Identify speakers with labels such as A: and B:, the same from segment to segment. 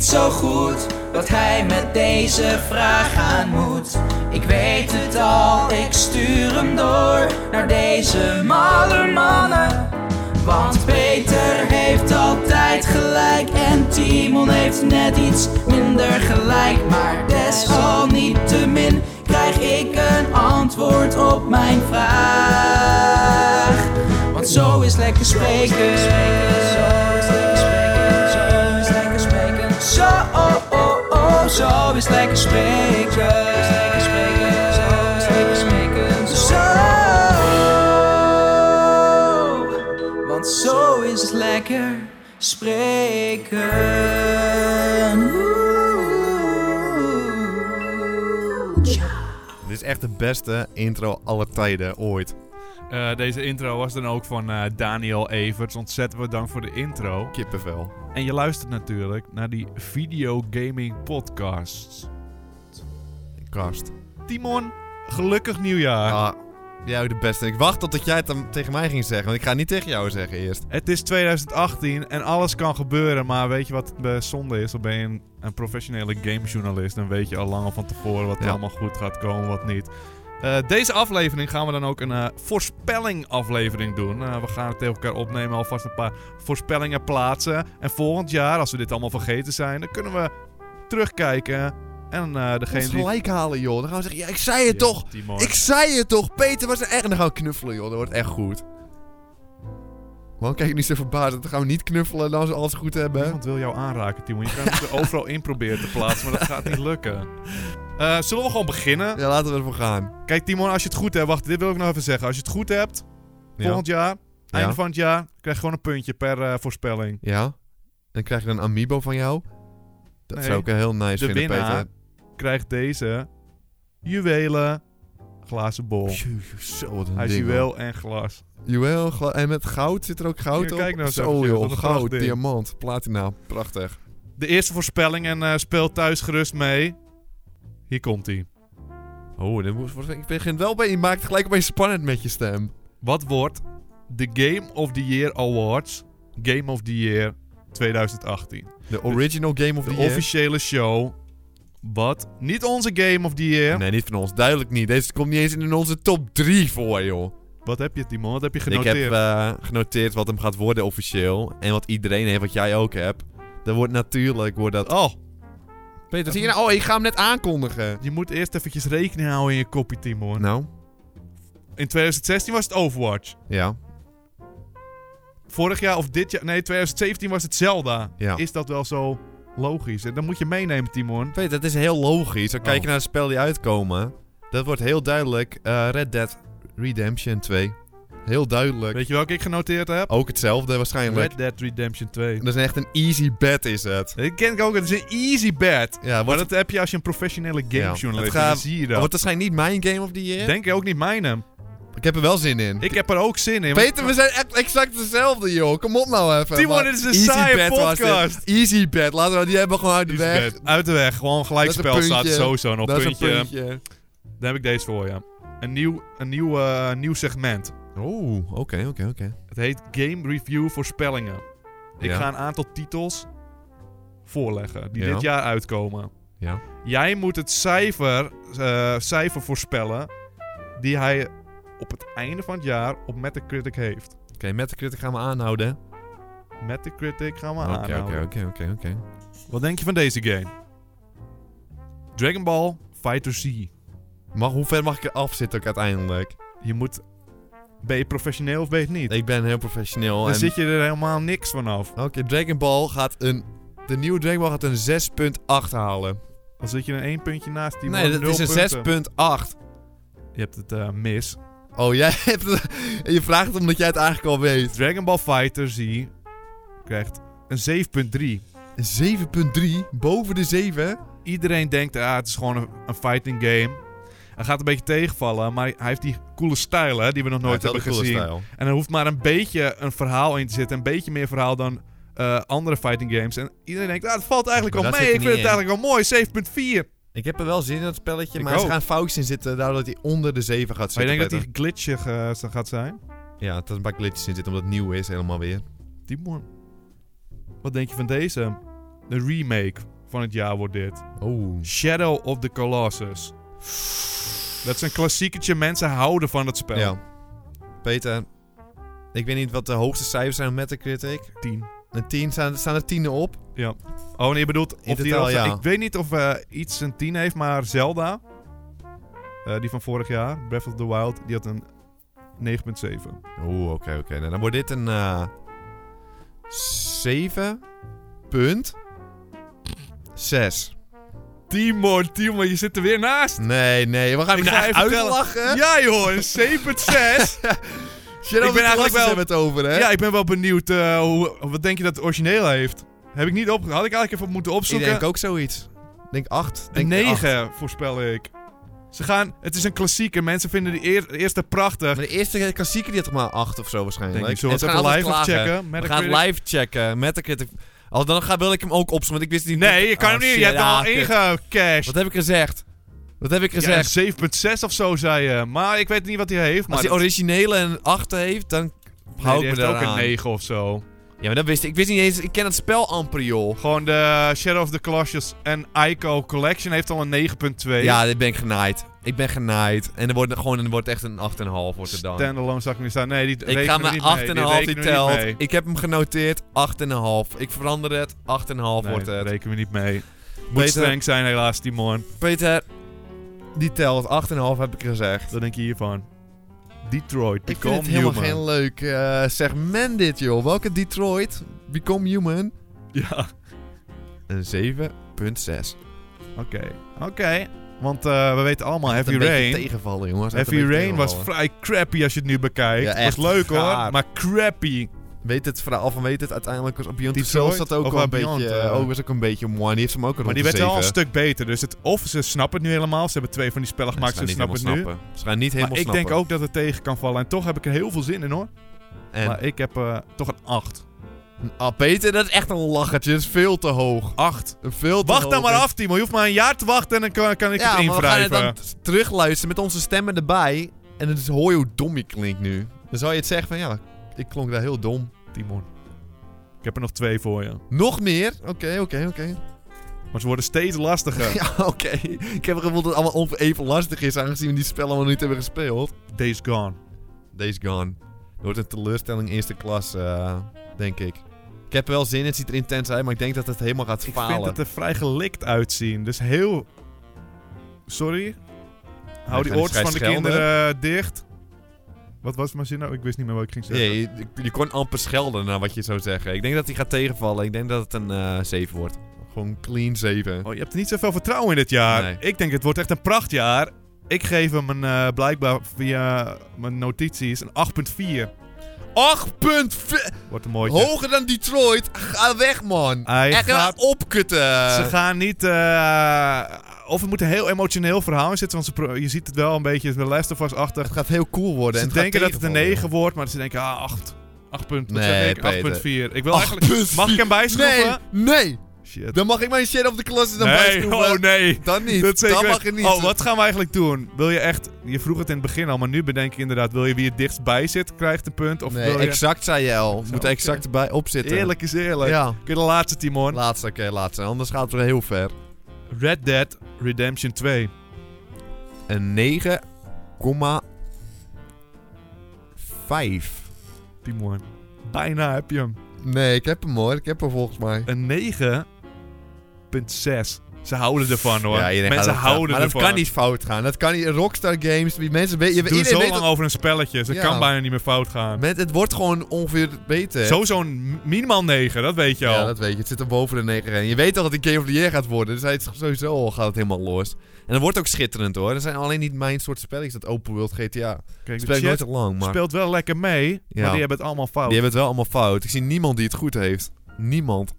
A: zo goed wat hij met deze vraag aan moet. Ik weet het al, ik stuur hem door naar deze mannen. Want Peter heeft altijd gelijk en Timon heeft net iets minder gelijk. Maar desalniettemin krijg ik een antwoord op mijn vraag. Want zo is lekker spreken. Zo is lekker spreken. Zo is lekker spreken. Zo oh, oh, oh, zo is lekker spreken. Zo is lekker spreken. Zo is lekker spreken. Zo. Want zo is het lekker spreken. Oeh.
B: Dit is echt de beste intro aller tijden ooit.
C: Eh, deze intro was dan ook van eh, Daniel Evers. Ontzettend bedankt voor de intro.
B: Kippenvel.
C: En je luistert natuurlijk naar die videogaming podcasts.
B: Kast.
C: Timon, gelukkig nieuwjaar.
B: Ah, jij ook de beste. Ik wacht totdat jij het dan tegen mij ging zeggen. Want ik ga het niet tegen jou zeggen eerst.
C: Het is 2018 en alles kan gebeuren. Maar weet je wat eh, zonde is? Dan ben je een, een professionele gamejournalist. Dan weet je al lang al van tevoren wat er
B: Ja.
C: allemaal goed gaat komen, wat niet. Eh, deze aflevering gaan we dan ook een eh, voorspelling-aflevering doen. Eh, we gaan het tegen elkaar opnemen, alvast een paar voorspellingen plaatsen. En volgend jaar, als we dit allemaal vergeten zijn, dan kunnen we terugkijken. En eh, degene
B: Geen
C: die.
B: gelijk halen, joh. Dan gaan we zeggen, ja, ik zei het toch.
C: Timon.
B: Ik zei het toch. Peter was er echt. En dan gaan we knuffelen, joh. Dat wordt echt goed. Man, kijk niet zo verbaasd. Dan gaan we niet knuffelen dan als we alles goed hebben.
C: Niemand wil jou aanraken, Timon. Je kan het er overal in proberen te plaatsen, maar dat gaat niet lukken. Eh, zullen we gewoon beginnen?
B: Ja, laten we ervoor gaan.
C: Kijk, Timon, als je het goed hebt, wacht, dit wil ik nog even zeggen. Als je het goed hebt,
B: Ja.
C: volgend jaar, einde
B: Ja.
C: van het jaar, krijg je gewoon een puntje per eh, voorspelling.
B: ja. Dan krijg je een amiibo van jou. Dat
C: Nee.
B: zou ik heel nice
C: De
B: vinden,
C: winnaar.
B: Peter.
C: Krijgt deze juwelen glazen bol.
B: Jezus, Oh. Zo, wat een
C: Hij is
B: ding, man.
C: juweel en glas.
B: Juwel, gla- en met goud zit er ook goud
C: Hier,
B: op.
C: kijk nou eens
B: Zo,
C: eventjes,
B: joh,
C: wat een prachtig
B: goud,
C: ding.
B: diamant, platina, prachtig.
C: De eerste voorspelling en eh, speel thuis gerust mee. Hier komt hij.
B: Oh, dit moet, wordt- ik begin wel bij je maakt het gelijk opeens spannend met je stem.
C: Wat wordt de Game of the Year Awards Game of the Year 2018?
B: De original game of
C: De
B: the year.
C: officiële show. Wat? Niet onze Game of the Year.
B: Nee, niet van ons, duidelijk niet. Deze komt niet eens in onze top 3 voor, joh.
C: Wat heb je, Timon? Wat heb je
B: Ik
C: genoteerd?
B: heb eh, genoteerd wat hem gaat worden officieel. En wat iedereen heeft, wat jij ook hebt. Dat wordt natuurlijk, wordt dat...
C: Oh,
B: Peter, zie je nou? Oh, ik ga hem net aankondigen.
C: Je moet eerst eventjes rekening houden in je kopie, Timon.
B: Nou,
C: In 2016 was het Overwatch.
B: ja.
C: Vorig jaar of dit jaar... Nee, 2017 was het Zelda.
B: Ja.
C: Is dat wel zo logisch? En dat moet je meenemen, Timon.
B: Peter, dat is heel logisch. Dan kijk
C: Oh.
B: je naar de spel die uitkomen. Dat wordt heel duidelijk eh, Red Dead Redemption 2. Heel duidelijk.
C: Weet je welke ik genoteerd heb?
B: Ook hetzelfde waarschijnlijk.
C: Red Dead Redemption 2.
B: Dat is echt een easy bet is het.
C: Dat ken ik ook. Het is een easy bet.
B: Ja,
C: Maar
B: wordt,
C: dat heb je als je een professionele gamejournalist
B: Het gaat-
C: bent. Dan zie je dat.
B: wordt waarschijnlijk niet mijn game of the year.
C: Denk je ook niet mijne.
B: Ik heb er wel zin in.
C: Ik heb er ook zin in. want-
B: Peter, we zijn echt exact dezelfde, joh. Kom op nou even.
C: Timon,
B: Maar
C: dit is een
B: easy
C: saaie
B: bet was dit.
C: podcast.
B: Easy bet. Laten we die hebben we gewoon uit de
C: Easy
B: weg.
C: bet. Uit de weg. Gewoon gelijkspel
B: Dat is een
C: staat er
B: puntje.
C: sowieso nog.
B: Dat is een
C: puntje.
B: puntje.
C: Dan heb ik deze voor je. Een nieuw, een nieuw, eh, nieuw segment.
B: Oeh, oké, oké, oké.
C: Het heet Game Review Voorspellingen. Ik
B: Ja.
C: ga een aantal titels voorleggen die
B: Ja.
C: dit jaar uitkomen.
B: Ja.
C: Jij moet het cijfer, eh, cijfer voorspellen die hij op het einde van het jaar op Metacritic heeft.
B: Oké, met de critic gaan we aanhouden.
C: Metacritic gaan we
B: Oké, oké,
C: aanhouden.
B: oké, oké, oké.
C: Wat denk je van deze game? Dragon Ball Fighter Z.
B: Mag, hoe ver mag ik eraf zitten ook uiteindelijk?
C: Je moet... Ben je professioneel of ben je het niet?
B: Ik ben heel professioneel.
C: Dan
B: en...
C: zit je er helemaal niks vanaf.
B: Oké, Dragon Ball gaat een... De nieuwe Dragon Ball gaat een 6.8 halen.
C: Dan zit je er één puntje naast die
B: nee,
C: man,
B: dat
C: nul punten.
B: is een 6.8.
C: Je hebt het eh, mis.
B: Oh, jij hebt... het- Je vraagt het omdat jij het eigenlijk al weet.
C: Dragon Ball Fighter Z krijgt een 7.3.
B: 7.3, boven de 7.
C: Iedereen denkt, ah, het is gewoon een, een fighting game. Hij gaat een beetje tegenvallen, maar hij heeft die coole stijl hè, die we nog nooit hebben gezien. En er hoeft maar een beetje een verhaal in te zitten. Een beetje meer verhaal dan eh, andere fighting games. En iedereen denkt, ah, het valt eigenlijk
B: Maar
C: wel
B: dat
C: mee. Ik
B: zit
C: vind
B: er
C: het
B: niet
C: eigenlijk wel mooi. 7.4.
B: Ik heb er wel zin in dat spelletje,
C: Ik
B: maar ze
C: ook.
B: gaan foutjes in zitten, daardoor dat hij onder de 7 gaat
C: Maar je
B: zitten.
C: denkt dat
B: Peter.
C: die glitchig eh, z- gaat zijn?
B: Ja, dat er een paar glitches in zitten, omdat het nieuw is helemaal weer.
C: Timon. Wat denk je van deze? De remake van het jaar wordt dit.
B: Oh.
C: Shadow of the Colossus. Dat is een klassieketje. Mensen houden van het spel.
B: Ja. Peter, ik weet niet wat de hoogste cijfers zijn op Metacritic.
C: Tien.
B: Een 10 staan, staan er tienen op.
C: Oh nee, je bedoelt... Of die
B: totaal,
C: al-
B: ja.
C: Ik weet niet of eh, iets een 10 heeft, maar Zelda... eh, die van vorig jaar, Breath of the Wild, die had een 9.7.
B: Oeh, oké, oké. Nou, dan wordt dit een eh 7 punt 6.
C: Timon, Timon, je zit er weer naast.
B: Nee, nee, we gaan
C: Ik
B: hem
C: ga
B: nou
C: even vertellen.
B: uitlachen.
C: Ja joh, een 7.6.
B: Shadow
C: Ik ben
B: of the
C: eigenlijk
B: Colossus
C: wel-
B: hebben we het over, hè?
C: ja, ik ben wel benieuwd. eh, hoe, wat denk je dat het origineel heeft? Heb ik niet opgehaald. Had ik eigenlijk even moeten
B: ik
C: opzoeken.
B: denk ook zoiets. Ik denk 8.
C: Een 9 voorspel ik. Ze gaan, het is een klassieker. Mensen vinden die eer- eerste prachtig.
B: Maar de eerste klassieker die had maar 8 of zo waarschijnlijk.
C: Denk ik,
B: En
C: zullen we
B: ze
C: het
B: gaan
C: even live
B: altijd klagen.
C: checken?
B: We gaan het live checken. Metacritic. Al dan ga, wil ik hem ook opzoeken, want ik wist niet...
C: Nee, je kan
B: Oh,
C: hem niet.
B: shit.
C: Je hebt hem
B: Ah,
C: al
B: kut.
C: ingecashed.
B: Wat heb ik gezegd? Wat heb ik
C: Ja,
B: gezegd?
C: een 7.6 of zo zei je. Maar ik weet niet wat hij heeft. Maar
B: Als die
C: dat-
B: originele een 8 heeft, dan
C: nee,
B: hou
C: die
B: ik me
C: heeft
B: daar
C: ook een 9 of zo.
B: Ja, maar dat wist ik. Ik wist niet eens... Ik ken het spel amper, joh.
C: Gewoon de Shadow of the Colossus en Ico Collection heeft al een 9.2.
B: Ja, dit ben ik genaaid. Ik ben genaaid. En er wordt gewoon er wordt echt een 8,5 wordt er dan.
C: Standalone zag ik niet staan. Nee, die
B: dus- Ik
C: rekenen
B: ga
C: we
B: mijn
C: niet
B: 8,5
C: mee. rekenen we
B: die
C: niet
B: telt.
C: mee.
B: Ik heb hem genoteerd, 8,5. Ik verander het, 8,5
C: Nee,
B: wordt
C: dat
B: het.
C: rekenen we niet mee. Moet
B: Peter,
C: streng zijn helaas, Timon.
B: Peter, die telt, 8,5 heb ik gezegd.
C: Wat denk je hiervan? Detroit,
B: Ik vind
C: Become
B: het helemaal
C: Human.
B: geen leuk eh, segment dit, joh. Welke Detroit? Become Human?
C: Ja,
B: Een 7,6.
C: oké. Oké, want eh, we weten allemaal,
B: Echt
C: Heavy
B: een beetje
C: Rain...
B: tegenvallen, jongens. Echt
C: Heavy
B: een beetje
C: Rain was
B: tegenvallen.
C: vrij crappy als je het nu bekijkt.
B: Ja,
C: Het was
B: echt
C: leuk hoor,
B: gaar.
C: maar crappy.
B: Weet het verhaal van weet het uiteindelijk was op Beyond Two
C: Detroit?
B: Souls zat ook
C: Of
B: wel een
C: bij Beyond,
B: beetje...
C: eh,
B: oh, was ook een beetje mooi. Die heeft hem ook een
C: Maar die
B: rond
C: werd
B: de
C: wel een
B: zeven.
C: stuk beter. Dus het, of ze snappen het nu helemaal, ze hebben twee van die spellen
B: Ja,
C: gemaakt,
B: ze
C: ze
B: gaan niet
C: snappen het nu.
B: helemaal snappen. Ze gaan niet helemaal
C: Maar ik
B: snappen.
C: denk ook dat het tegen kan vallen. En toch heb ik er heel veel zin in hoor.
B: En-
C: Maar ik heb eh, toch een 8.
B: Ah, Peter, dat is echt een lachertje. Dat is veel te hoog.
C: 8.
B: Een Veel te
C: Wacht
B: hoog.
C: dan maar af, Timo. Je hoeft maar een jaar te wachten en dan kan, kan ik
B: Ja,
C: het
B: maar we gaan het
C: invrijven.
B: dan t- terugluisteren met onze stemmen erbij. En dan hoor je hoe dom je klinkt nu. Dan zou je het zeggen van, ja, ik klonk daar heel dom.
C: Timon. Ik heb er nog twee voor je.
B: Nog meer? Oké, oké, oké.
C: Maar ze worden steeds lastiger.
B: Ja, oké. Ik heb het gevoel dat het allemaal ongeveer even lastig is, aangezien we die spellen allemaal niet hebben gespeeld.
C: Days Gone.
B: Days Gone. Dat wordt een teleurstelling eerste klas, eh, denk ik. Ik heb er wel zin in, het ziet er intens uit, maar ik denk dat het helemaal gaat
C: Ik
B: falen.
C: vind het er vrij gelikt uitzien. Dus heel... Sorry? Hou die
B: gaan
C: oortjes van de
B: schijt
C: kinderen eh, dicht. Wat was mijn zin nou? Ik wist niet meer wat ik ging zeggen.
B: Nee, je, je kon amper schelden naar wat je zou zeggen. Ik denk dat hij gaat tegenvallen. Ik denk dat het een eh 7 wordt. Gewoon clean 7.
C: Oh, je hebt er niet zoveel vertrouwen in dit jaar.
B: Nee.
C: Ik denk het wordt echt een prachtjaar. Ik geef hem een, eh, blijkbaar via mijn notities een 8.4.
B: 8.4!
C: Wordt een mooitje.
B: Hoger dan Detroit! Ga weg, man!
C: Hij
B: Echt
C: gaat-
B: gaat... opkutten!
C: Ze gaan niet. eh, of het moet een heel emotioneel verhaal in zitten. Want ze pro- je ziet het wel een beetje. De Last of Us-achtig.
B: Het gaat heel cool worden. en
C: Ze
B: het gaat
C: denken dat het een
B: tegenvallen,
C: 9 wordt. Maar ze denken, ah, 8. 8 punt. Wat
B: Nee,
C: zeg ik?
B: Peter.
C: 8.4. Ik wil
B: joh.
C: eigenlijk.
B: 8.4.
C: Mag ik hem bijschroeven?
B: Nee, nee!
C: Shit.
B: Dan mag ik mijn shit op de klas dan
C: nee,
B: bijschroeven.
C: oh nee.
B: Dan niet.
C: Dat zeker.
B: dan mag het niet.
C: Oh, wat gaan we eigenlijk doen? Wil je echt. Je vroeg het in het begin al, maar nu bedenk ik inderdaad. Wil je wie het dichtst bij zit, krijgt een punt? Of
B: Nee,
C: wil je...
B: exact zei je al.
C: Zo,
B: Moet er exact
C: oké.
B: bij opzitten.
C: Eerlijk is eerlijk.
B: Ja.
C: Kun je de laatste, Timon?
B: Laatste, oké, laatste. Anders gaat het heel ver.
C: Red Dead Redemption 2.
B: Een 9,5.
C: Timon. Bijna heb je hem.
B: Nee, ik heb hem hoor. Ik heb hem volgens mij.
C: Een 9.6. Ze houden ervan hoor.
B: iedereen
C: mensen
B: gaat dat-
C: houden
B: Maar
C: ervan.
B: dat kan niet fout gaan. Dat kan niet. Rockstar Games, die mensen weten...
C: Ze doen
B: Iedereen
C: zo
B: weet
C: lang
B: dat-
C: over een spelletje. Ze
B: Ja.
C: kan bijna niet meer fout gaan.
B: met, het wordt gewoon ongeveer beter.
C: Zo zo'n minimaal 9, dat weet je al.
B: Ja, dat weet je. Het zit er boven de 9 heen. Je weet al dat het Game of the Year gaat worden. Dus hij is sowieso al gaat het helemaal los. En dat wordt ook schitterend hoor. Dat zijn alleen niet mijn soort spelletjes, dat open world GTA. Dat
C: Kijk, de
B: speel ik nooit
C: chat
B: te lang, maar...
C: speelt wel lekker mee,
B: Ja.
C: maar die hebben het allemaal fout.
B: Die hebben het wel allemaal fout. Ik zie niemand die het goed heeft. Niemand.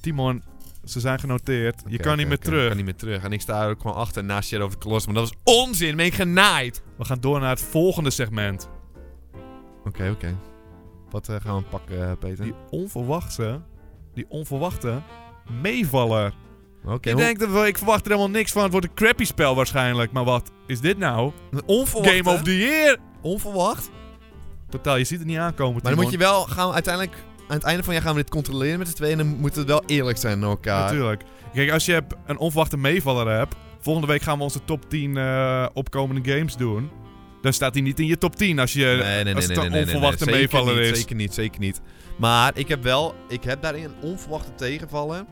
C: Timon, ze zijn genoteerd. je
B: Oké,
C: kan
B: oké,
C: niet meer
B: oké,
C: terug.
B: Ik kan niet meer terug. En ik sta er ook gewoon achter naast Shadow of the Colossus. Maar dat was onzin. Ben ik genaaid.
C: We gaan door naar het volgende segment.
B: Oké, oké. Wat eh, gaan we pakken, eh, Peter?
C: Die onverwachte, die onverwachte meevaller.
B: Oké.
C: ik
B: maar-
C: denk dat we, ik verwacht er helemaal niks van. Het wordt een crappy spel waarschijnlijk. Maar wat is dit nou?
B: een onverwacht.
C: Game
B: hè?
C: of the Year!
B: Onverwacht.
C: Totaal, je ziet het niet aankomen.
B: Maar dan moet je wel gaan we uiteindelijk aan aan het einde van het jaar gaan we dit controleren met z'n tweeën. En dan moeten we wel eerlijk zijn naar elkaar.
C: Natuurlijk. Kijk, als je een onverwachte meevaller hebt. Volgende week gaan we onze top 10 eh, opkomende games doen. Dan staat die niet in je top 10 als je.
B: Nee, nee, nee,
C: als het
B: nee,
C: een
B: nee, nee,
C: onverwachte
B: nee, zeker
C: meevaller
B: niet,
C: is.
B: Zeker niet, zeker niet. Maar ik heb wel, ik heb daarin een onverwachte tegenvaller.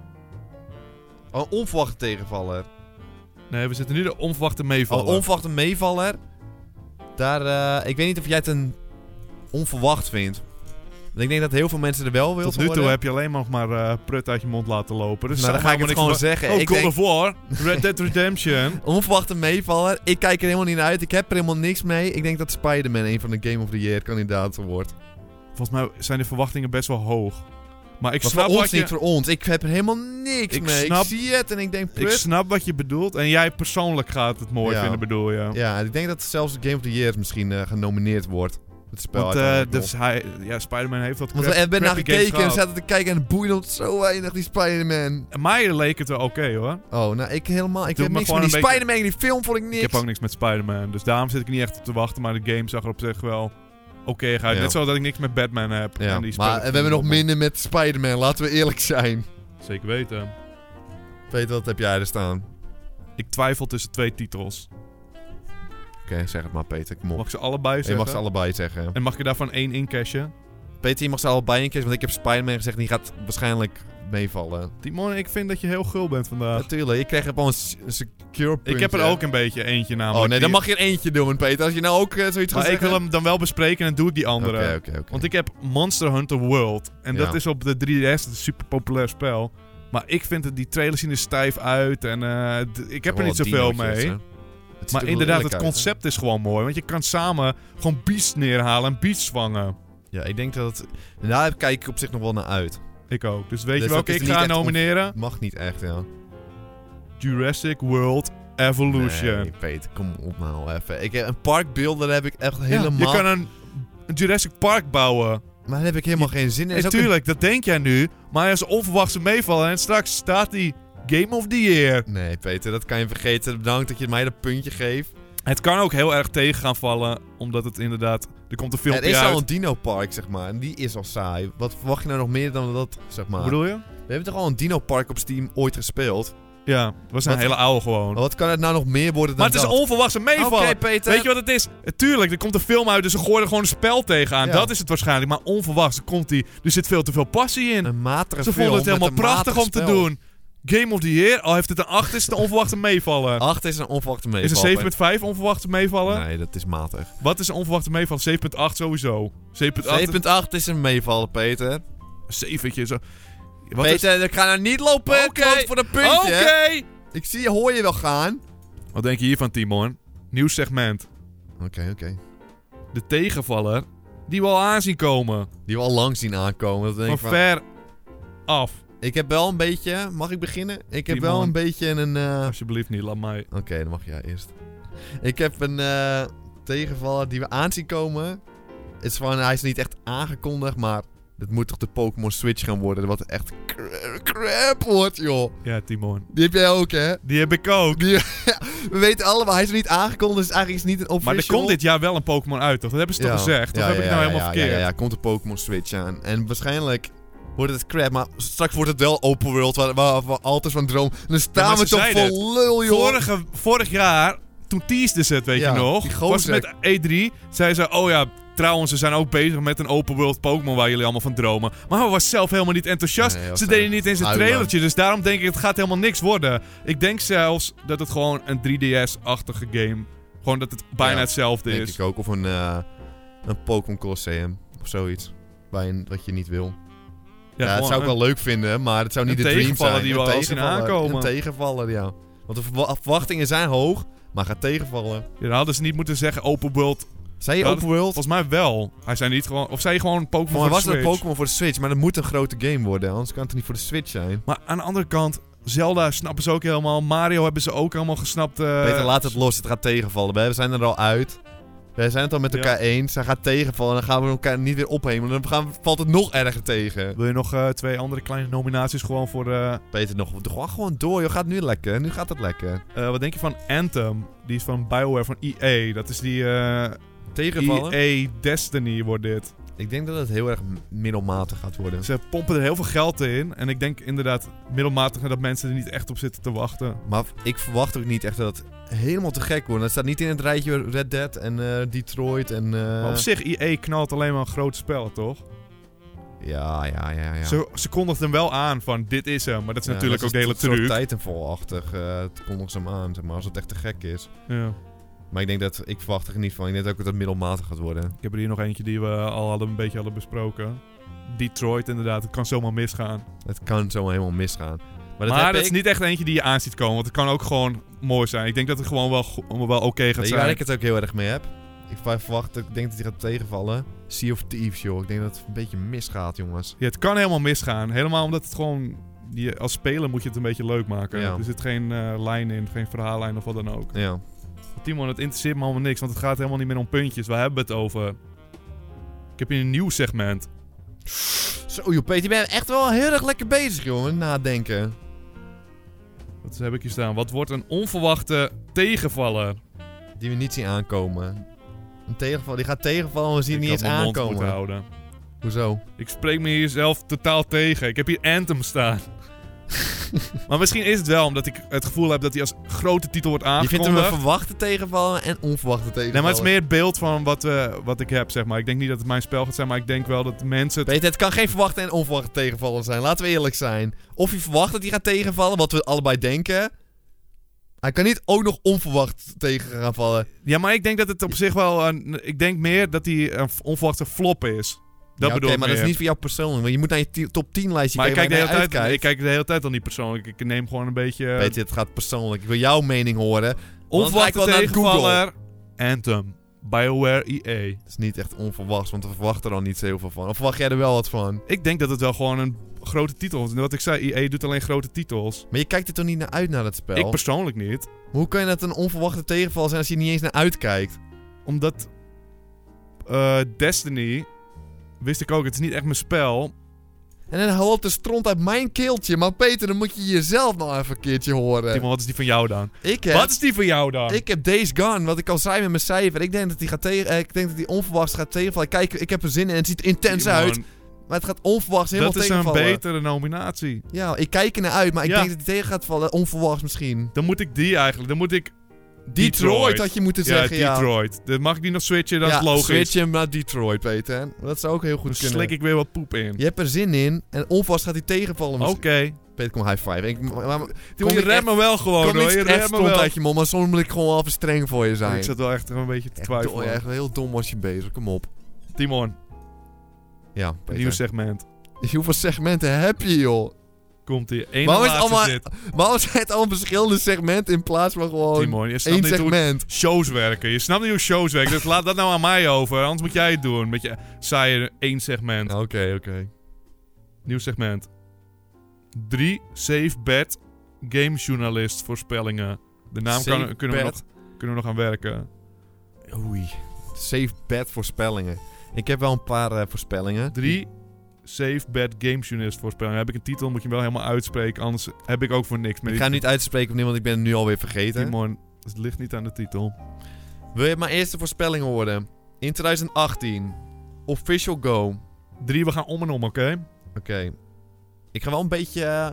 B: Oh, een onverwachte tegenvaller.
C: Nee, we zitten nu de onverwachte
B: Oh,
C: meevaller.
B: onverwachte meevaller. Daar, eh, ik weet niet of jij het een onverwacht vindt. Want ik denk dat heel veel mensen er wel wil
C: Tot nu toe heb je alleen maar, nog maar eh, prut uit je mond laten lopen. Dus
B: Nou, dan
C: zeg
B: ga ik
C: maar
B: het
C: niks
B: gewoon
C: van-
B: zeggen.
C: Oh,
B: ik
C: God
B: denk,
C: of War, Red Dead Redemption.
B: Onverwachte meevaller. Ik kijk er helemaal niet naar uit. Ik heb er helemaal niks mee. Ik denk dat Spider-Man een van de Game of the Year kandidaten wordt.
C: Volgens mij zijn de verwachtingen best wel hoog. Maar ik
B: Maar
C: snap
B: voor
C: wat
B: ons
C: je...
B: niet, voor ons. Ik heb er helemaal niks
C: Ik
B: mee.
C: snap-
B: Ik zie het en ik denk,
C: Ik
B: prut.
C: snap wat je bedoelt. En jij persoonlijk gaat het mooi
B: Ja.
C: vinden, bedoel je.
B: Ja, en ik denk dat zelfs Game of the Year misschien eh, genomineerd wordt. Het spel
C: Want eh
B: uiteindelijk nog.
C: dus hij, ja, Spider-Man heeft wat
B: Want we
C: crap-
B: hebben naar
C: crappy games
B: gekeken en we
C: gehad.
B: zaten te kijken en het boeide ons zo weinig, die Spider-Man.
C: En Mij leek het wel oké hoor.
B: Oh, nou, ik helemaal... Ik
C: Doe
B: heb
C: me
B: niks met
C: gewoon
B: die
C: een beetje-
B: Spider-Man, die film vond ik niks.
C: Ik heb ook niks met Spider-Man. Dus daarom zit ik niet echt op te wachten. Maar de game zag er op zich wel oké uit.
B: Ja.
C: Net zoals dat ik niks met Batman heb.
B: ja,
C: En die
B: maar
C: speelt-
B: we hebben nog minder met Spider-Man, laten we eerlijk zijn.
C: Zeker weten.
B: Peter, wat heb jij er staan?
C: Ik twijfel tussen twee titels.
B: Oké, zeg het maar, Peter. Kom op.
C: Mag ik ze allebei
B: je
C: zeggen?
B: mag ze allebei zeggen.
C: En mag je daarvan één incashen?
B: Peter, je mag ze allebei een keer, want ik heb Spider-Man gezegd en die gaat waarschijnlijk meevallen.
C: Timon, ik vind dat je heel gul bent vandaag.
B: Natuurlijk, ik krijg gewoon een s- een secure puntje.
C: ik heb er ook een beetje eentje namelijk.
B: Oh nee, dan
C: Die-
B: mag je er eentje doen, Peter. Als je nou ook eh, zoiets gaat
C: Maar ik
B: zeggen.
C: wil hem dan wel bespreken en doe ik die andere.
B: Oké, oké, oké.
C: Want ik heb Monster Hunter World. En dat
B: Ja.
C: is op de 3DS. Dat is een super populair spel. Maar ik vind het, die trailers zien er stijf uit. En eh, d- ik
B: Oh,
C: heb er niet zoveel mee. Maar inderdaad, het concept is gewoon mooi. Want je kan samen gewoon beasts neerhalen en beasts vangen.
B: Ja, ik denk dat het... en Daar kijk ik op zich nog wel naar uit.
C: Ik ook. Dus
B: Dus
C: weet je
B: dat
C: welke
B: is
C: ik
B: niet
C: ga
B: echt on-
C: nomineren?
B: Mag niet echt, ja.
C: Jurassic World Evolution.
B: Nee, Peter, kom op nou even. Ik heb een parkbeelden, daar heb ik echt
C: Ja,
B: helemaal...
C: Je kan een, een Jurassic Park bouwen.
B: Maar daar heb ik helemaal geen zin in. Er is ook een-
C: Natuurlijk, dat denk jij nu. Maar als onverwachte meevallen en straks staat die Game of the Year.
B: Nee, Peter, dat kan je vergeten. Bedankt dat je mij dat puntje geeft.
C: Het kan ook heel erg tegen gaan vallen, omdat het inderdaad... Er komt een
B: Er
C: filmpje
B: is
C: uit.
B: al een dino-park, zeg maar. En die is al saai. Wat verwacht je nou nog meer dan dat, zeg maar?
C: Hoe bedoel je?
B: We hebben toch al een dino-park op Steam ooit gespeeld?
C: Ja, het was een
B: Wat-
C: hele oude gewoon.
B: Maar wat kan het nou nog meer worden
C: maar
B: dan
C: het is
B: dat?
C: een onverwachte meevallen.
B: Oké, Peter.
C: Weet je wat het is? Eh, Tuurlijk, er komt een film uit, dus ze gooien er gewoon een spel tegenaan.
B: Ja.
C: Dat is het waarschijnlijk. Maar onverwachts er komt die. Er zit veel te veel passie in.
B: Een matige
C: Ze
B: film
C: vonden het
B: met
C: helemaal
B: een
C: prachtig
B: matig
C: om te
B: spel.
C: doen. Game of the Year, al heeft het een 8, is het een onverwachte meevallen.
B: Acht is een onverwachte meevaller.
C: Is een 7.5 onverwachte meevallen?
B: Ah, Nee, dat is matig. 7.8
C: Wat is een onverwachte meeval? 7.8 sowieso. 7.8.
B: is een meevaller, Peter.
C: 7. Zo. Wat is-
B: Peter, ik ga nou niet lopen.
C: Oké.
B: klopt voor dat
C: Oké!
B: puntje. Ik zie je, hoor je wel gaan.
C: Wat denk je hiervan, Timon? Nieuw segment.
B: Oké, oké.
C: De tegenvaller die we al aanzien komen.
B: Die we al lang zien aankomen. Dat denk
C: Van
B: ik, van-
C: ver af.
B: ik heb wel een beetje... Mag ik beginnen? Ik heb
C: Die
B: wel
C: man.
B: een beetje een... eh,
C: Alsjeblieft niet, laat mij.
B: Oké, dan mag jij eerst. Ik heb een eh, tegenvaller die we aan zien komen. Het is gewoon, hij is niet echt aangekondigd, maar het moet toch de Pokémon Switch gaan worden. Wat echt cra- crap wordt, joh.
C: Ja, Timon.
B: Die heb jij ook, hè?
C: Die heb ik ook.
B: Die- we weten allemaal, hij is nog niet aangekondigd, dus eigenlijk is het niet een
C: Maar
B: official.
C: er komt dit jaar wel een Pokémon uit, toch? Dat hebben ze
B: Ja.
C: toch gezegd? Of
B: Ja,
C: heb
B: ja,
C: ik nou
B: ja,
C: helemaal
B: ja,
C: verkeerd?
B: Ja, ja, komt de Pokémon Switch aan. En waarschijnlijk wordt het crap, maar straks wordt het wel open world, waar, waar, waar altijd van droom. En dan staan
C: maar
B: we
C: ze
B: toch
C: zeiden
B: vol lul, joh.
C: Vorige, vorig jaar, toen teasde ze het, weet
B: Ja,
C: je nog.
B: die
C: was
B: gozer.
C: het met E3. Zei ze, oh ja, trouwens, ze zijn ook bezig met een open world Pokémon waar jullie allemaal van dromen. Maar hij was zelf helemaal niet enthousiast.
B: Nee, hij was
C: ze
B: echt
C: deden niet eens een
B: huilen.
C: trailertje. Dus daarom denk ik, het gaat helemaal niks worden. Ik denk zelfs dat het gewoon een 3DS-achtige game. Gewoon dat het bijna
B: Ja,
C: hetzelfde
B: Denk
C: is.
B: ik ook. Of een, eh, een Pokémon Colosseum. Of zoiets. Bij een, wat je niet wil. Ja, dat
C: gewoon
B: zou ik
C: een-
B: wel leuk vinden, maar het zou niet
C: een
B: de dream
C: tegenvaller
B: zijn.
C: die
B: Een
C: we wel zien
B: tegenvaller.
C: aankomen.
B: Een tegenvaller, ja. Want de verwa- verwachtingen zijn hoog, maar gaat tegenvallen.
C: Ja, dan hadden ze niet moeten zeggen open world.
B: Zei je
C: Ja,
B: open world?
C: Volgens mij wel. Hij zei niet gewoon... Of zei je gewoon Pokémon
B: Volgens mij
C: voor
B: was
C: de
B: het een
C: Switch?
B: Pokémon voor de Switch, maar dat moet een grote game worden. Anders kan het er niet voor de Switch zijn.
C: Maar aan de andere kant, Zelda snappen ze ook helemaal. Mario hebben ze ook helemaal gesnapt. eh.
B: Peter, laat het los. Het gaat tegenvallen. We zijn er al uit. Wij zijn het al met
C: Ja.
B: elkaar eens. Hij gaat tegenvallen en dan gaan we elkaar niet weer ophemelen. Dan gaan, we- valt het nog erger tegen.
C: Wil je nog eh, twee andere kleine nominaties gewoon voor... eh,
B: Peter, nog, ga gewoon door. joh. gaat nu lekker. Nu gaat het lekker.
C: eh, wat denk je van Anthem? Die E is van Bioware, van EA. Dat is die eh
B: Tegenvallen?
C: EA Destiny wordt dit.
B: Ik denk dat het heel erg m- middelmatig gaat worden.
C: Ze pompen er heel veel geld in. En ik denk inderdaad middelmatig dat mensen er niet echt op zitten te wachten.
B: Maar ik verwacht ook niet echt dat het helemaal te gek wordt. Dat staat niet in het rijtje Red Dead en eh, Detroit en... eh,
C: Maar op zich, IE knalt alleen maar een groot spel, toch?
B: Ja, ja, ja, ja.
C: Ze, ze kondigt hem wel aan van dit is hem. Maar dat is
B: Ja,
C: natuurlijk
B: dat
C: ook de hele
B: het soort
C: truc.
B: Titanfall-achtig. eh, het kondigt ze hem aan, zeg maar, als het echt te gek is.
C: Ja.
B: Maar ik denk dat... Ik verwacht er niet van. Ik denk ook dat het middelmatig gaat worden.
C: Ik heb er hier nog eentje die we al hadden, een beetje hadden besproken. Detroit inderdaad, het kan zomaar misgaan.
B: Het kan zo helemaal misgaan. Maar dat,
C: maar
B: heb
C: dat
B: ik-
C: is niet echt eentje die je aan ziet komen, want het kan ook gewoon mooi zijn. Ik denk dat het gewoon wel, go- wel oké gaat
B: Weet je waar
C: zijn.
B: ik het ook heel erg mee heb? Ik verwacht, ik denk dat hij gaat tegenvallen. Sea of Thieves, joh. Ik denk dat het een beetje misgaat, jongens.
C: Ja, het kan helemaal misgaan. Helemaal omdat het gewoon... Je, als speler moet je het een beetje leuk maken.
B: Ja.
C: Er zit geen eh, lijn in, geen verhaallijn of wat dan ook.
B: Ja.
C: Timon, het interesseert me allemaal niks, want het gaat helemaal niet meer om puntjes. Waar hebben we het over? Ik heb hier een nieuw segment.
B: Zo, joh, Peter, je bent echt wel heel erg lekker bezig, jongen. Nadenken.
C: Wat heb ik hier staan? Wat wordt een onverwachte tegenvaller?
B: Die we niet zien aankomen. Een tegenval, die gaat tegenvallen en we zien
C: Ik
B: het niet
C: had
B: eens
C: mijn mond moeten
B: aankomen.
C: houden.
B: Hoezo?
C: Ik spreek me hier zelf totaal tegen. Ik heb hier Anthem staan. maar misschien is het wel omdat ik het gevoel heb dat hij als grote titel wordt
B: Je vindt hem
C: aangekondigd.
B: een verwachte tegenvallen en onverwachte tegenvallen.
C: Nee, maar het is meer het beeld van wat, eh, wat ik heb, zeg maar. Ik denk niet dat het mijn spel gaat zijn, maar ik denk wel dat mensen... Het...
B: Peter, het kan geen verwachte en onverwachte tegenvallen zijn. Laten we eerlijk zijn. Of je verwacht dat hij gaat tegenvallen, wat we allebei denken. Hij kan niet ook nog onverwacht tegen gaan vallen.
C: Ja, maar ik denk dat het op zich wel... Een, ik denk meer dat hij een onverwachte flop is. Dat
B: Ja,
C: bedoel
B: oké,
C: ik
B: maar dat is
C: meer.
B: niet voor jou persoonlijk. Want je moet naar je ti- top 10 lijstje
C: Maar ik kijk, de
B: kijken
C: hele
B: waar je naar
C: tijd, ik
B: uitkijkt.
C: kijk de hele tijd al niet persoonlijk. Ik neem gewoon een beetje... eh,
B: Peter, het gaat persoonlijk. Ik wil jouw mening horen. Want
C: onverwachte
B: het lijkt wel naar
C: tegenvaller... Anthem. Bioware E EA.
B: Het is niet echt onverwachts, want we verwachten er al niet zo heel veel van. Of verwacht jij er wel wat van?
C: Ik denk dat het wel gewoon een grote titel is. Wat ik zei, EA doet alleen grote titels.
B: Maar je kijkt er toch niet naar uit naar dat spel?
C: Ik persoonlijk niet.
B: Maar Hoe kan je dat een onverwachte tegenval zijn als je er niet eens naar uitkijkt?
C: Omdat eh, Destiny, wist ik ook, het is niet echt mijn spel.
B: Eh. En dan haalt de stront uit mijn keeltje. Maar Peter, dan moet je jezelf nou even een keertje horen.
C: Timon, wat is die van jou dan?
B: Ik heb,
C: Wat is die van jou dan?
B: ik heb Days Gone, wat ik al zei met mijn cijfer. Ik denk dat die, gaat tegen, eh, ik denk dat die onverwachts gaat tegenvallen. Kijk, ik heb er zin in. Het ziet er intens
C: Timon,
B: uit. Maar het gaat onverwachts helemaal
C: Dat is een
B: tegenvallen.
C: betere nominatie.
B: Ja, ik kijk er naar uit, maar ik
C: Ja.
B: denk dat die tegen gaat vallen. Onverwachts misschien.
C: Dan moet ik die eigenlijk. Dan moet ik.
B: Detroit, had je moeten zeggen,
C: ja,
B: ja.
C: Detroit. Dan mag ik die nog switchen, dat
B: ja,
C: is logisch.
B: switch hem naar Detroit, Peter. Dat zou ook heel goed
C: Dan
B: kunnen.
C: slik ik weer wat poep in.
B: Je hebt er zin in en onverwachts gaat hij tegenvallen
C: Oké.
B: misschien. Peter, kom high five. Ik, maar, maar,
C: Timon, Je
B: ik echt-
C: remt me wel gewoon
B: Kom
C: hoor.
B: niet
C: Oh, nou, Je
B: echt
C: remt me
B: stond
C: wel. Oh,
B: uit je mond, maar soms moet ik gewoon even streng voor je zijn.
C: Ik zat wel echt een beetje te
B: echt, do-
C: twijfelen.
B: echt heel dom was je bezig, kom op.
C: Timon,
B: Ja,
C: een nieuw
B: Peter.
C: segment.
B: Hoeveel segmenten heb je, joh?
C: Komt hier. Eén
B: Waarom is
C: laatste
B: het allemaal,
C: zit.
B: waarom zijn het allemaal verschillende segmenten in plaats van gewoon
C: Timon, je snapt
B: Oh, één
C: niet hoe
B: segment?
C: shows werken. Je snapt niet hoe shows werken. Dus laat dat nou aan mij over. Anders moet jij het doen. Met je saaie één segment.
B: Oké, oké.
C: Nieuw segment. Drie safe bet gamejournalist voorspellingen. De naam kan-
B: Safe
C: kunnen, we
B: bet.
C: nog, kunnen we nog aan werken.
B: Oei. Safe bet voorspellingen. Ik heb wel een paar eh, voorspellingen.
C: Drie safe bet gamejournalist voorspellingen. Heb ik een titel, moet je hem wel helemaal uitspreken. Anders heb ik ook voor niks meer.
B: Ik ga niet uitspreken opnieuw, want ik ben het nu alweer vergeten.
C: Timon, het ligt niet aan de titel.
B: Wil je mijn eerste voorspelling horen? In 2018. Official Go. Oké.
C: Drie, we gaan om en om, oké?
B: Ik ga wel een beetje... eh,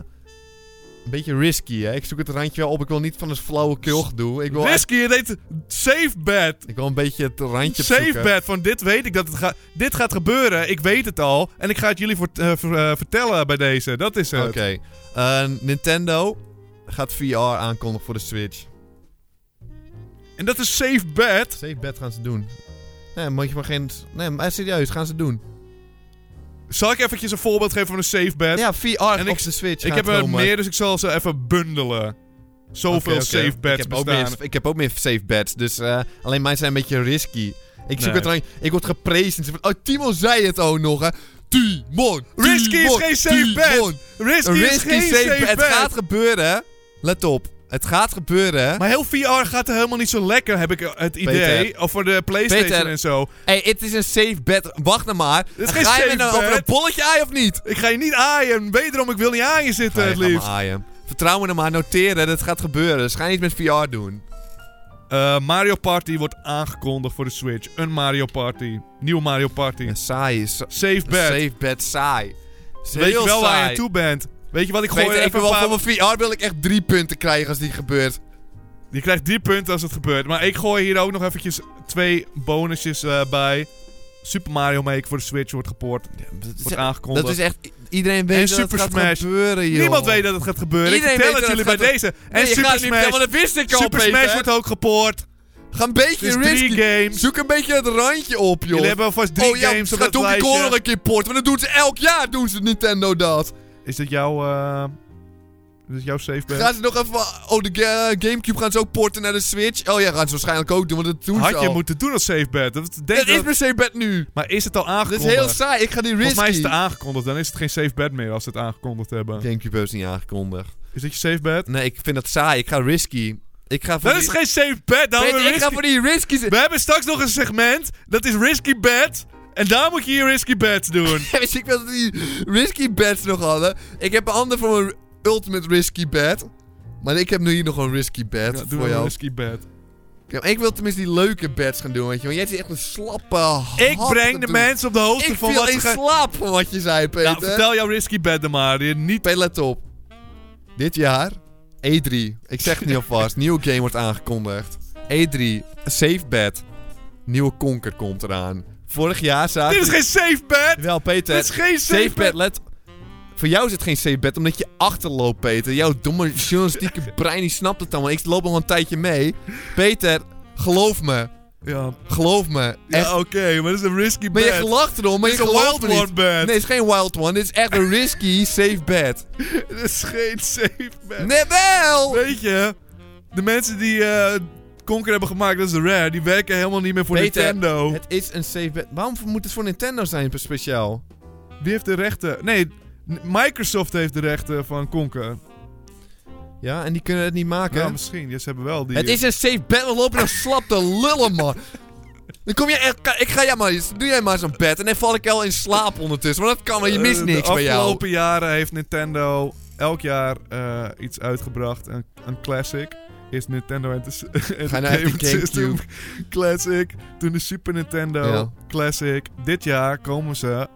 B: een beetje risky, hè. Ik zoek het randje wel op. Ik wil niet van een flauwe kul gedoe. Ik wil, echt-
C: Risky, je deed safe bet.
B: ik wil een beetje het randje
C: Safe
B: opzoeken.
C: bet van dit weet ik dat het gaat. Dit gaat gebeuren. Ik weet het al. En ik ga het jullie voor, eh, ver- eh, vertellen bij deze. Dat is het.
B: Oké. Eh, Nintendo gaat VR aankondigen voor de Switch.
C: En dat is safe bet.
B: Safe bet gaan ze doen. Nee, moet je maar geen... Nee, maar serieus, gaan ze doen.
C: Zal ik eventjes een voorbeeld geven van een safe bet?
B: Ja, VR
C: en
B: en
C: ik-
B: op de Switch
C: ik
B: gaat
C: heb er
B: komen.
C: meer, dus ik zal ze even bundelen. Zoveel
B: Oké, oké.
C: safe
B: ik
C: bets
B: heb ook
C: bestaan.
B: meer, ik heb ook meer safe bets, dus eh, alleen mij zijn een beetje risky. Ik, zoek
C: Nee.
B: het randje- ik word geprezen. Ze van, Oh, Timo zei het ook nog, hè. Timon!
C: Risky is
B: Timon,
C: geen safe bet.
B: Timon.
C: Risky,
B: Een
C: is geen safe, bet.
B: Het gaat gebeuren, hè. Let op. Het gaat gebeuren, hè.
C: Maar heel VR gaat er helemaal niet zo lekker, heb ik het idee. Of voor de PlayStation
B: Peter.
C: en zo.
B: hey, het is een safe bet. Wacht nou maar.
C: Het is geen
B: Ga je
C: safe
B: met een, over
C: bet.
B: een bolletje ei of niet?
C: Ik ga je niet aaien. Wederom, ik wil niet aan je zitten,
B: Ga je
C: het
B: gaan maar
C: liefst.
B: aaien. Vertrouw me nou maar. Noteren. Dat gaat gebeuren. Dus ga niet met VR doen.
C: Eh, Mario Party wordt aangekondigd voor de Switch. Een Mario Party. Nieuw Mario Party.
B: Een saai is...
C: Safe
B: een
C: bet.
B: Safe bed saai. Is
C: Weet
B: heel
C: je wel waar je
B: saai.
C: aan toe bent? Weet je wat, ik
B: Ik weet
C: gooi er
B: even
C: even een
B: wel,
C: paar...
B: voor mijn VR wil ik echt drie punten krijgen als die gebeurt.
C: Je krijgt drie punten als het gebeurt. Maar ik gooi hier ook nog eventjes twee bonusjes eh, bij. Super Mario Maker voor de Switch wordt gepoord.
B: dat, is,
C: Wordt aangekondigd.
B: dat is echt... Iedereen weet dat
C: Super
B: het gaat
C: Smash.
B: gebeuren, joh.
C: Niemand weet dat het gaat gebeuren.
B: Iedereen
C: ik vertel
B: weet
C: het
B: dat
C: jullie
B: het
C: bij deze. en Super Smash.
B: dat wist ik al,
C: Super Smash wordt ook gepoord.
B: Ga een beetje
C: Dus
B: risky.
C: drie games.
B: Zoek een beetje het randje op, joh.
C: Jullie hebben alvast drie
B: oh ja,
C: games op
B: ga
C: dat
B: Donkey
C: lijstje.
B: Kong nog een keer porten. Want dat doen ze elk jaar, doen ze Nintendo dat.
C: Is dat jouw... eh, is dat jouw safe bet?
B: Gaan ze nog even... Oh, de ga- Gamecube gaan ze ook porten naar de Switch. Oh ja, gaan ze waarschijnlijk ook doen, want dat doen ze
C: Had je
B: al.
C: moeten doen als safe bet. Dat denk
B: Het
C: dat-
B: is per se bed nu.
C: Maar is het al
B: Dat is
C: aangekondigd?
B: heel saai, ik ga die risky.
C: Volgens mij is het aangekondigd. Dan is het geen safe bet meer als ze het aangekondigd hebben.
B: Gamecube hebben ze niet aangekondigd.
C: Is dat je safe bet?
B: Nee, ik vind dat saai. Ik ga risky. Ik ga voor
C: Dat is
B: die...
C: geen safe bet. Dan
B: Weet je,
C: hebben we
B: Ik
C: risky-
B: ga voor die risky...
C: We hebben straks nog een segment. Dat is risky bet. En daar moet je je risky bets doen.
B: Ja, Wist ik wel dat die risky bets nog hadden. Ik heb een ander voor mijn ultimate risky bet. Maar ik heb nu hier nog een risky bet
C: Ja, doe
B: voor
C: dan een
B: jou.
C: risky bet.
B: Ja, maar ik wil tenminste die leuke bets gaan doen, weet je. Want jij zit echt een slappe
C: Ik
B: hap
C: breng
B: te
C: de
B: doen.
C: mensen op de hoogte
B: Ik
C: van wat
B: viel
C: ze
B: in
C: gaan...
B: slaap van wat je zei, Peter.
C: Nou, vertel jouw risky bet dan maar. Je niet...
B: Peter, let op. Dit jaar, E3. Ik zeg het niet alvast. Nieuwe game wordt aangekondigd. E3, een safe bet. Nieuwe konker komt eraan. Vorig jaar zaten...
C: Dit is geen safe bet.
B: Wel, Peter.
C: Dit is geen safe,
B: Safe bet, let. Voor jou is het geen safe bet, omdat je achterloopt, Peter. Jouw domme journalistieke brein die snapt het allemaal. Ik loop al een tijdje mee. Peter, geloof me.
C: Ja,
B: Geloof me. Echt.
C: ja oké. maar dat is een risky
B: maar
C: bet.
B: je lacht erom, maar
C: Dit
B: je
C: is een
B: gelooft
C: wild
B: me niet.
C: one bet.
B: Nee, het is geen wild one. Dit is echt een risky safe bet.
C: Dit is geen safe bet.
B: Nee, wel!
C: Weet je, de mensen die eh Conker hebben gemaakt, dat is Rare, die werken helemaal niet meer voor
B: Peter,
C: Nintendo.
B: Het is een safe bet. Waarom moet het voor Nintendo zijn speciaal?
C: Wie heeft de rechten? Nee, N- Microsoft heeft de rechten van Conker.
B: Ja, en die kunnen het niet maken.
C: Ja, misschien. Ja, ze hebben wel die.
B: Het is een safe bet. We lopen nog slap te lullen, man. Dan kom je echt... ka- Ik ga jij maar... Doe jij maar zo'n bed. En dan val ik al in slaap ondertussen. Want dat kan wel. Je mist
C: Eh,
B: niks bij
C: De
B: jou.
C: afgelopen jaren heeft Nintendo elk jaar eh, iets uitgebracht. Een, een classic. Eerst Nintendo Enter-
B: nou echt
C: Entertainment
B: de
C: System
B: Gamecube.
C: Classic. Toen de Super Nintendo
B: Ja.
C: Classic. Dit jaar komen ze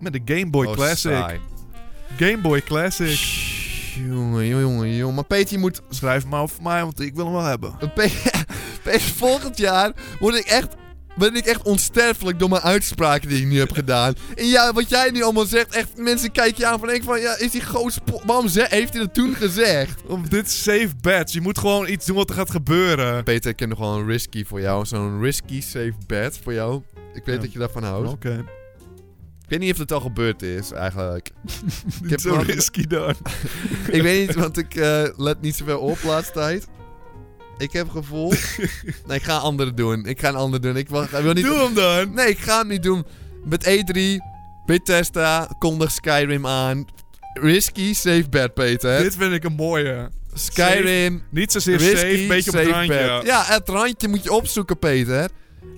C: met de Game
B: Oh,
C: Boy Classic. Game Boy Classic.
B: Shhh, Jongen, jongen, jongen, jongen. Maar Peter, je moet...
C: Schrijf hem maar over mij, want ik wil hem wel hebben.
B: Pe- Peter, volgend jaar word ik echt... Ben ik echt onsterfelijk door mijn uitspraken die ik nu heb gedaan. En ja, wat jij nu allemaal zegt, echt mensen kijken je aan van denk van ja, is die goos. Waarom ze- heeft hij dat toen gezegd?
C: Om dit is safe bets. Je moet gewoon iets doen wat er gaat gebeuren.
B: Peter, ik heb nog wel een risky voor jou. Zo'n risky safe bet voor jou. Ik weet
C: Ja.
B: dat je daarvan
C: Oké.
B: houdt. Ik weet niet of het al gebeurd is, eigenlijk.
C: Dit
B: heb
C: is zo
B: nog-
C: risky dan.
B: ik weet niet, want ik eh, let niet zoveel op laatst tijd. Ik heb gevoel... nee, ik ga een andere doen. Ik ga een ander doen. Ik, wil, ik wil niet...
C: Doe hem dan.
B: Nee, ik ga hem niet doen. Met E3, Bethesda, kondig Skyrim aan. Risky, safe bet, Peter.
C: Dit vind ik een mooie.
B: Skyrim,
C: Niet zozeer
B: risky,
C: safe, een beetje op het
B: safe
C: randje.
B: bet. Ja, het randje moet je opzoeken, Peter.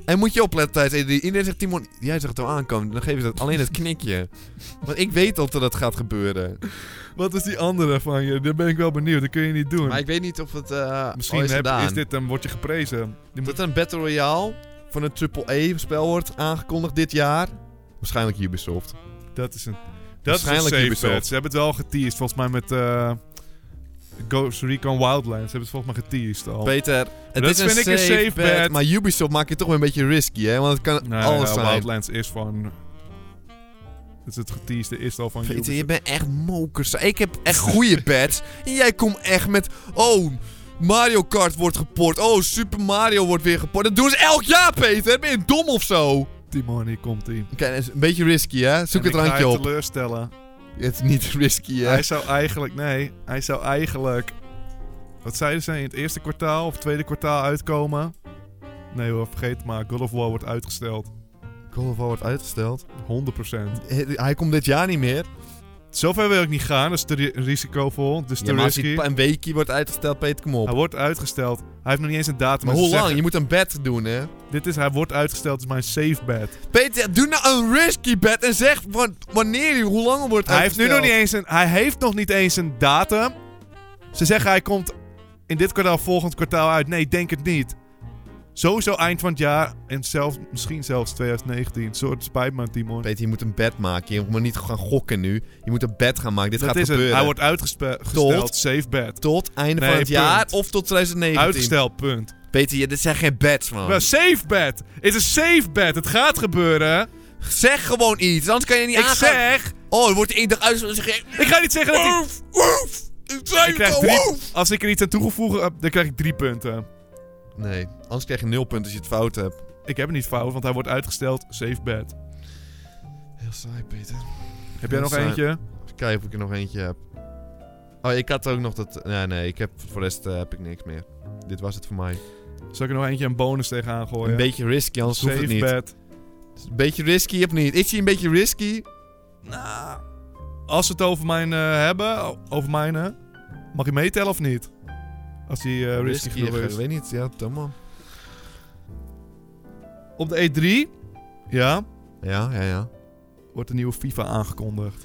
B: En moet je opletten tijdens E3. Iedereen zegt, Timon, jij zegt het al aankomen. Dan geven ze dat, alleen het knikje. Want ik weet al dat dat gaat gebeuren.
C: Wat is die andere van je? Daar ben ik wel benieuwd. Dat kun je niet doen.
B: Maar ik weet niet of het eh
C: Misschien
B: al is
C: heb-
B: gedaan.
C: is dit hem, word je geprezen. Die moet-
B: Dat er een Battle Royale van een AAA-spel wordt aangekondigd dit jaar. Waarschijnlijk Ubisoft.
C: dat is een. Dat is een
B: Waarschijnlijk
C: safe
B: Ubisoft.
C: bet. Ze hebben het wel geteased. Volgens mij met eh, Ghost Recon Wildlands. Ze hebben het volgens mij geteased al.
B: Peter, het
C: Oh. Dat
B: is een
C: vind ik een
B: safe,
C: safe
B: bet,
C: bet.
B: Maar Ubisoft maakt het toch weer een beetje risky, hè? Want het kan
C: Nou
B: alles
C: ja,
B: zijn.
C: Wildlands is van. Dat is het geteased is al van
B: Peter, je
C: Ubisoft.
B: bent echt mokers. Ik heb echt goede bets. En jij komt echt met... Oh, Mario Kart wordt geport. Oh, Super Mario wordt weer geport. Dat doen ze elk jaar, Peter. Ben je dom of zo? Oké,
C: Timon, hier komt hij.
B: dat is een beetje risky, hè? Zoek
C: En
B: het randje
C: Ik ga je
B: op.
C: teleurstellen.
B: Het is niet risky, hè?
C: Hij zou eigenlijk, nee, hij zou eigenlijk. Wat zeiden ze in het eerste kwartaal of tweede kwartaal uitkomen? Nee hoor, vergeet het maar. God of War wordt uitgesteld.
B: Call of War wordt uitgesteld.
C: 100%.
B: Hij komt dit jaar niet meer.
C: Zover wil ik niet gaan, dat is te ri- risicovol. Dus te
B: Ja, maar als
C: risky.
B: hij een weekje wordt uitgesteld, Peter, kom op.
C: Hij wordt uitgesteld. Hij heeft nog niet eens een datum.
B: maar
C: Ze
B: hoe lang?
C: zeggen,
B: Je moet een bed doen, hè?
C: Dit is, hij wordt uitgesteld, het is mijn safe bet.
B: Peter, doe nou een risky bed en zeg wa- wanneer hij, hoe lang hij wordt
C: Hij heeft, nu
B: uitgesteld.
C: nog niet eens een, hij heeft nog niet eens een datum. Ze zeggen hij komt in dit kwartaal, volgend kwartaal uit. Nee, denk het niet. Sowieso eind van het jaar en zelfs, misschien zelfs 2019. Soort spijt me, Timon.
B: Peter, je moet een bed maken. Je moet niet gaan gokken nu. Je moet een bed gaan maken. Dit
C: Dat
B: gaat
C: is het.
B: gebeuren.
C: Hij wordt uitgesteld.
B: Tot-
C: Safe bed.
B: Tot einde
C: Nee,
B: van het jaar
C: punt.
B: of tot 2019.
C: Uitgesteld, punt.
B: Peter, je- dit zijn geen beds, man.
C: Wel, safe bed. Het is een safe bed. Het gaat gebeuren.
B: Zeg gewoon iets, anders kan je niet
C: Ik
B: aangaan.
C: zeg.
B: Oh, er wordt één dag uit. Dan zeg je...
C: Ik ga niet zeggen dat hij...
B: Woef, woef. Ik zei
C: Ik
B: het
C: krijg
B: al,
C: drie,
B: woef.
C: als ik er iets aan toegevoegd heb, dan krijg ik drie punten.
B: Nee, anders krijg je nul punten als je het fout hebt.
C: Ik heb het niet fout, want hij wordt uitgesteld. Safe bed.
B: Heel saai, Peter.
C: Heb jij nog
B: Saai.
C: eentje?
B: Even kijken of ik er nog eentje heb. Oh, ik had ook nog dat... Nee, nee, ik heb, voor de rest eh, heb ik niks meer. Dit was het voor mij.
C: Zal ik er nog eentje een bonus tegenaan gooien?
B: Een beetje risky, anders hoeft
C: Oh, Safe
B: het niet.
C: bed.
B: Een beetje risky of niet? Is hij een beetje risky?
C: Nou, als we het over mijn eh, hebben, o- over mijn, eh, mag je meetellen of niet? Als die eh, risky
B: ik
C: genoeg is.
B: weet niet. Ja, dan man.
C: Op de E3, ja,
B: Ja, ja, ja.
C: wordt de nieuwe FIFA aangekondigd.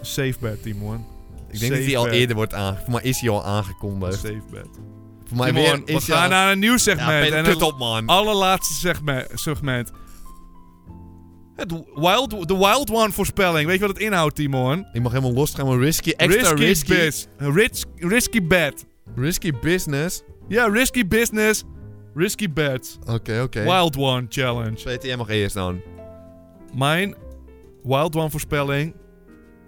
C: Safe bet, Timon.
B: Ik denk dat hij al eerder wordt aangekondigd. Voor mij is hij al aangekondigd.
C: Safe bet.
B: Voor mij
C: Timon, we
B: is hij
C: gaan
B: al-
C: naar een nieuw
B: Ja,
C: segment.
B: Peter,
C: en
B: kut
C: het
B: op, man.
C: allerlaatste segme- segment. Het wild, de Wild One voorspelling. Weet je wat het inhoudt, Timon?
B: Ik mag helemaal losgaan, maar risky. Extra risky.
C: risky, biz. Rich, risky bet.
B: Risky business.
C: Ja, risky business. Risky bets.
B: Oké, oké.
C: Wild One Challenge.
B: Peter, jij mag eerst dan.
C: Mijn Wild One voorspelling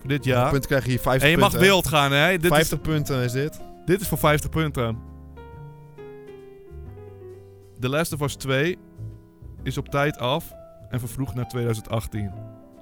C: voor dit jaar.
B: Punten krijg je hier 50
C: En je mag
B: punten.
C: wild gaan, hè? Dit,
B: 50 punten is dit.
C: Is, dit is voor 50 punten. The Last of Us 2 is op tijd af en vervroegd naar 2018.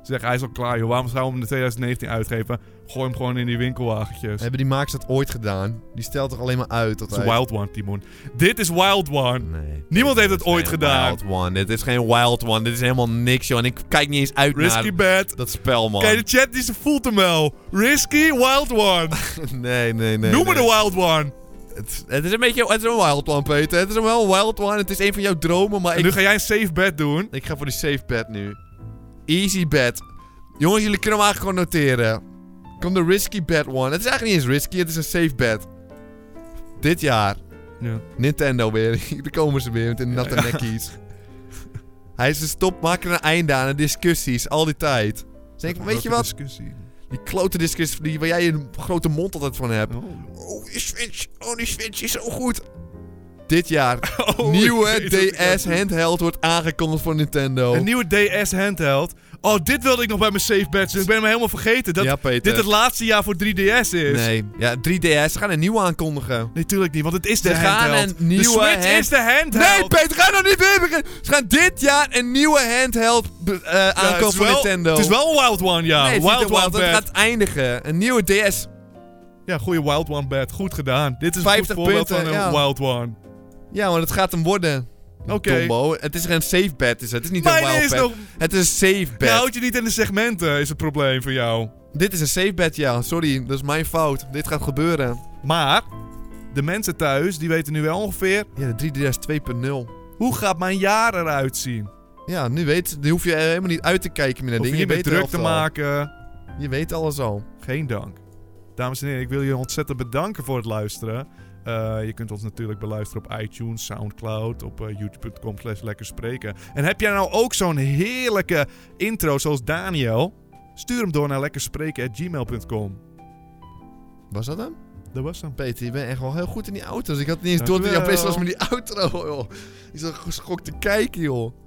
C: Zeg, hij is al klaar, joh. Waarom zou we hem in 2019 uitgeven? Gooi hem gewoon in die winkelwagentjes. Het
B: Hebben die makers dat ooit gedaan? Die stelt toch alleen maar uit tot
C: is Wild One, Timon. Dit is Wild One.
B: Nee.
C: Niemand heeft
B: Dit
C: het
B: is
C: ooit
B: geen
C: gedaan.
B: Wild One. Dit is geen Wild One. Dit is helemaal niks, joh. En ik kijk niet eens uit
C: Risky
B: naar
C: bet.
B: dat spel, man.
C: Kijk, de chat die ze voelt hem wel. Risky, Wild One.
B: nee, nee, nee.
C: Noem me
B: nee.
C: de Wild One.
B: Het, het is een beetje... Het is een Wild One, Peter. Het is een wel Wild One. Het is een van jouw dromen, maar
C: En nu
B: ik...
C: ga jij een safe bet doen.
B: Ik ga voor die safe bet nu. Easy bet. Jongens, jullie kunnen hem eigenlijk gewoon noteren. Kom de risky bet one. Het is eigenlijk niet eens risky, het is een safe bet. Dit jaar.
C: Ja.
B: Nintendo weer. Daar komen ze weer met hun natte nekkies. Hij is een stop, maak er een einde aan. De discussies, al die tijd. Dus ik denk,
C: Dat
B: weet je
C: wordt
B: wat?
C: een Discussie.
B: Die klote discussies die, waar jij een grote mond altijd van hebt.
C: Oh.
B: Oh, die Switch. Oh, die Switch is zo goed. Dit jaar.
C: Oh,
B: nieuwe
C: ik weet wat ik
B: DS handheld wordt aangekondigd voor Nintendo.
C: Een nieuwe DS handheld. Oh, dit wilde ik nog bij mijn safe bets. doen. Ik ben hem helemaal vergeten. Dat
B: ja, Peter.
C: dit het laatste jaar voor 3DS is.
B: Nee, ja, 3DS. Ze gaan een nieuwe aankondigen.
C: Nee, tuurlijk niet, want het is de
B: Ze gaan
C: handheld.
B: een nieuwe
C: de Switch
B: hand-
C: is de handheld.
B: Nee, Peter, ga nou niet weer beginnen. Ze gaan dit jaar een nieuwe handheld be- eh,
C: Ja, het
B: aankomen
C: is
B: voor
C: wel-
B: Nintendo.
C: Het is wel een Wild One, ja.
B: nee, het is niet
C: wild
B: een
C: One
B: wild, het
C: bet.
B: gaat eindigen. Een nieuwe DS.
C: Ja, goede Wild One bet. Goed gedaan. Dit is een goed
B: 50
C: voorbeeld
B: punten,
C: van een
B: ja.
C: Wild One.
B: Ja, maar het gaat hem worden.
C: Oké.
B: Tombo, het is geen safe bet. Is het. het is niet een
C: Mijn
B: wild
C: is
B: bet.
C: nog...
B: Het is een safe
C: Je
B: bet.
C: houdt Nou, je niet in de segmenten, is het probleem voor jou.
B: Dit is een safe bet, ja. Sorry, dat is mijn fout. Dit gaat gebeuren.
C: Maar de mensen thuis die weten nu wel ongeveer
B: Ja, de 3DS 2.0.
C: hoe gaat mijn jaar eruit zien.
B: Ja, nu weet nu hoef je eh, helemaal niet uit te kijken meer naar
C: Hoef je
B: dingen.
C: niet meer
B: weet de
C: druk
B: helft
C: te
B: al.
C: maken.
B: Je weet alles al.
C: Geen dank. Dames en heren, ik wil jullie ontzettend bedanken voor het luisteren. Eh, je kunt ons natuurlijk beluisteren op iTunes, Soundcloud, op eh, youtube.com slash lekker spreken. En heb jij nou ook zo'n heerlijke intro zoals Daniel? Stuur hem door naar lekkerspreken.gmail.com.
B: Was dat hem?
C: Dat was hem.
B: Peter, je bent echt wel heel goed in die auto's. Ik had niet eens door dat je bezig
C: Dankjewel.
B: was met die outro, joh. Ik zat geschokt te kijken, joh.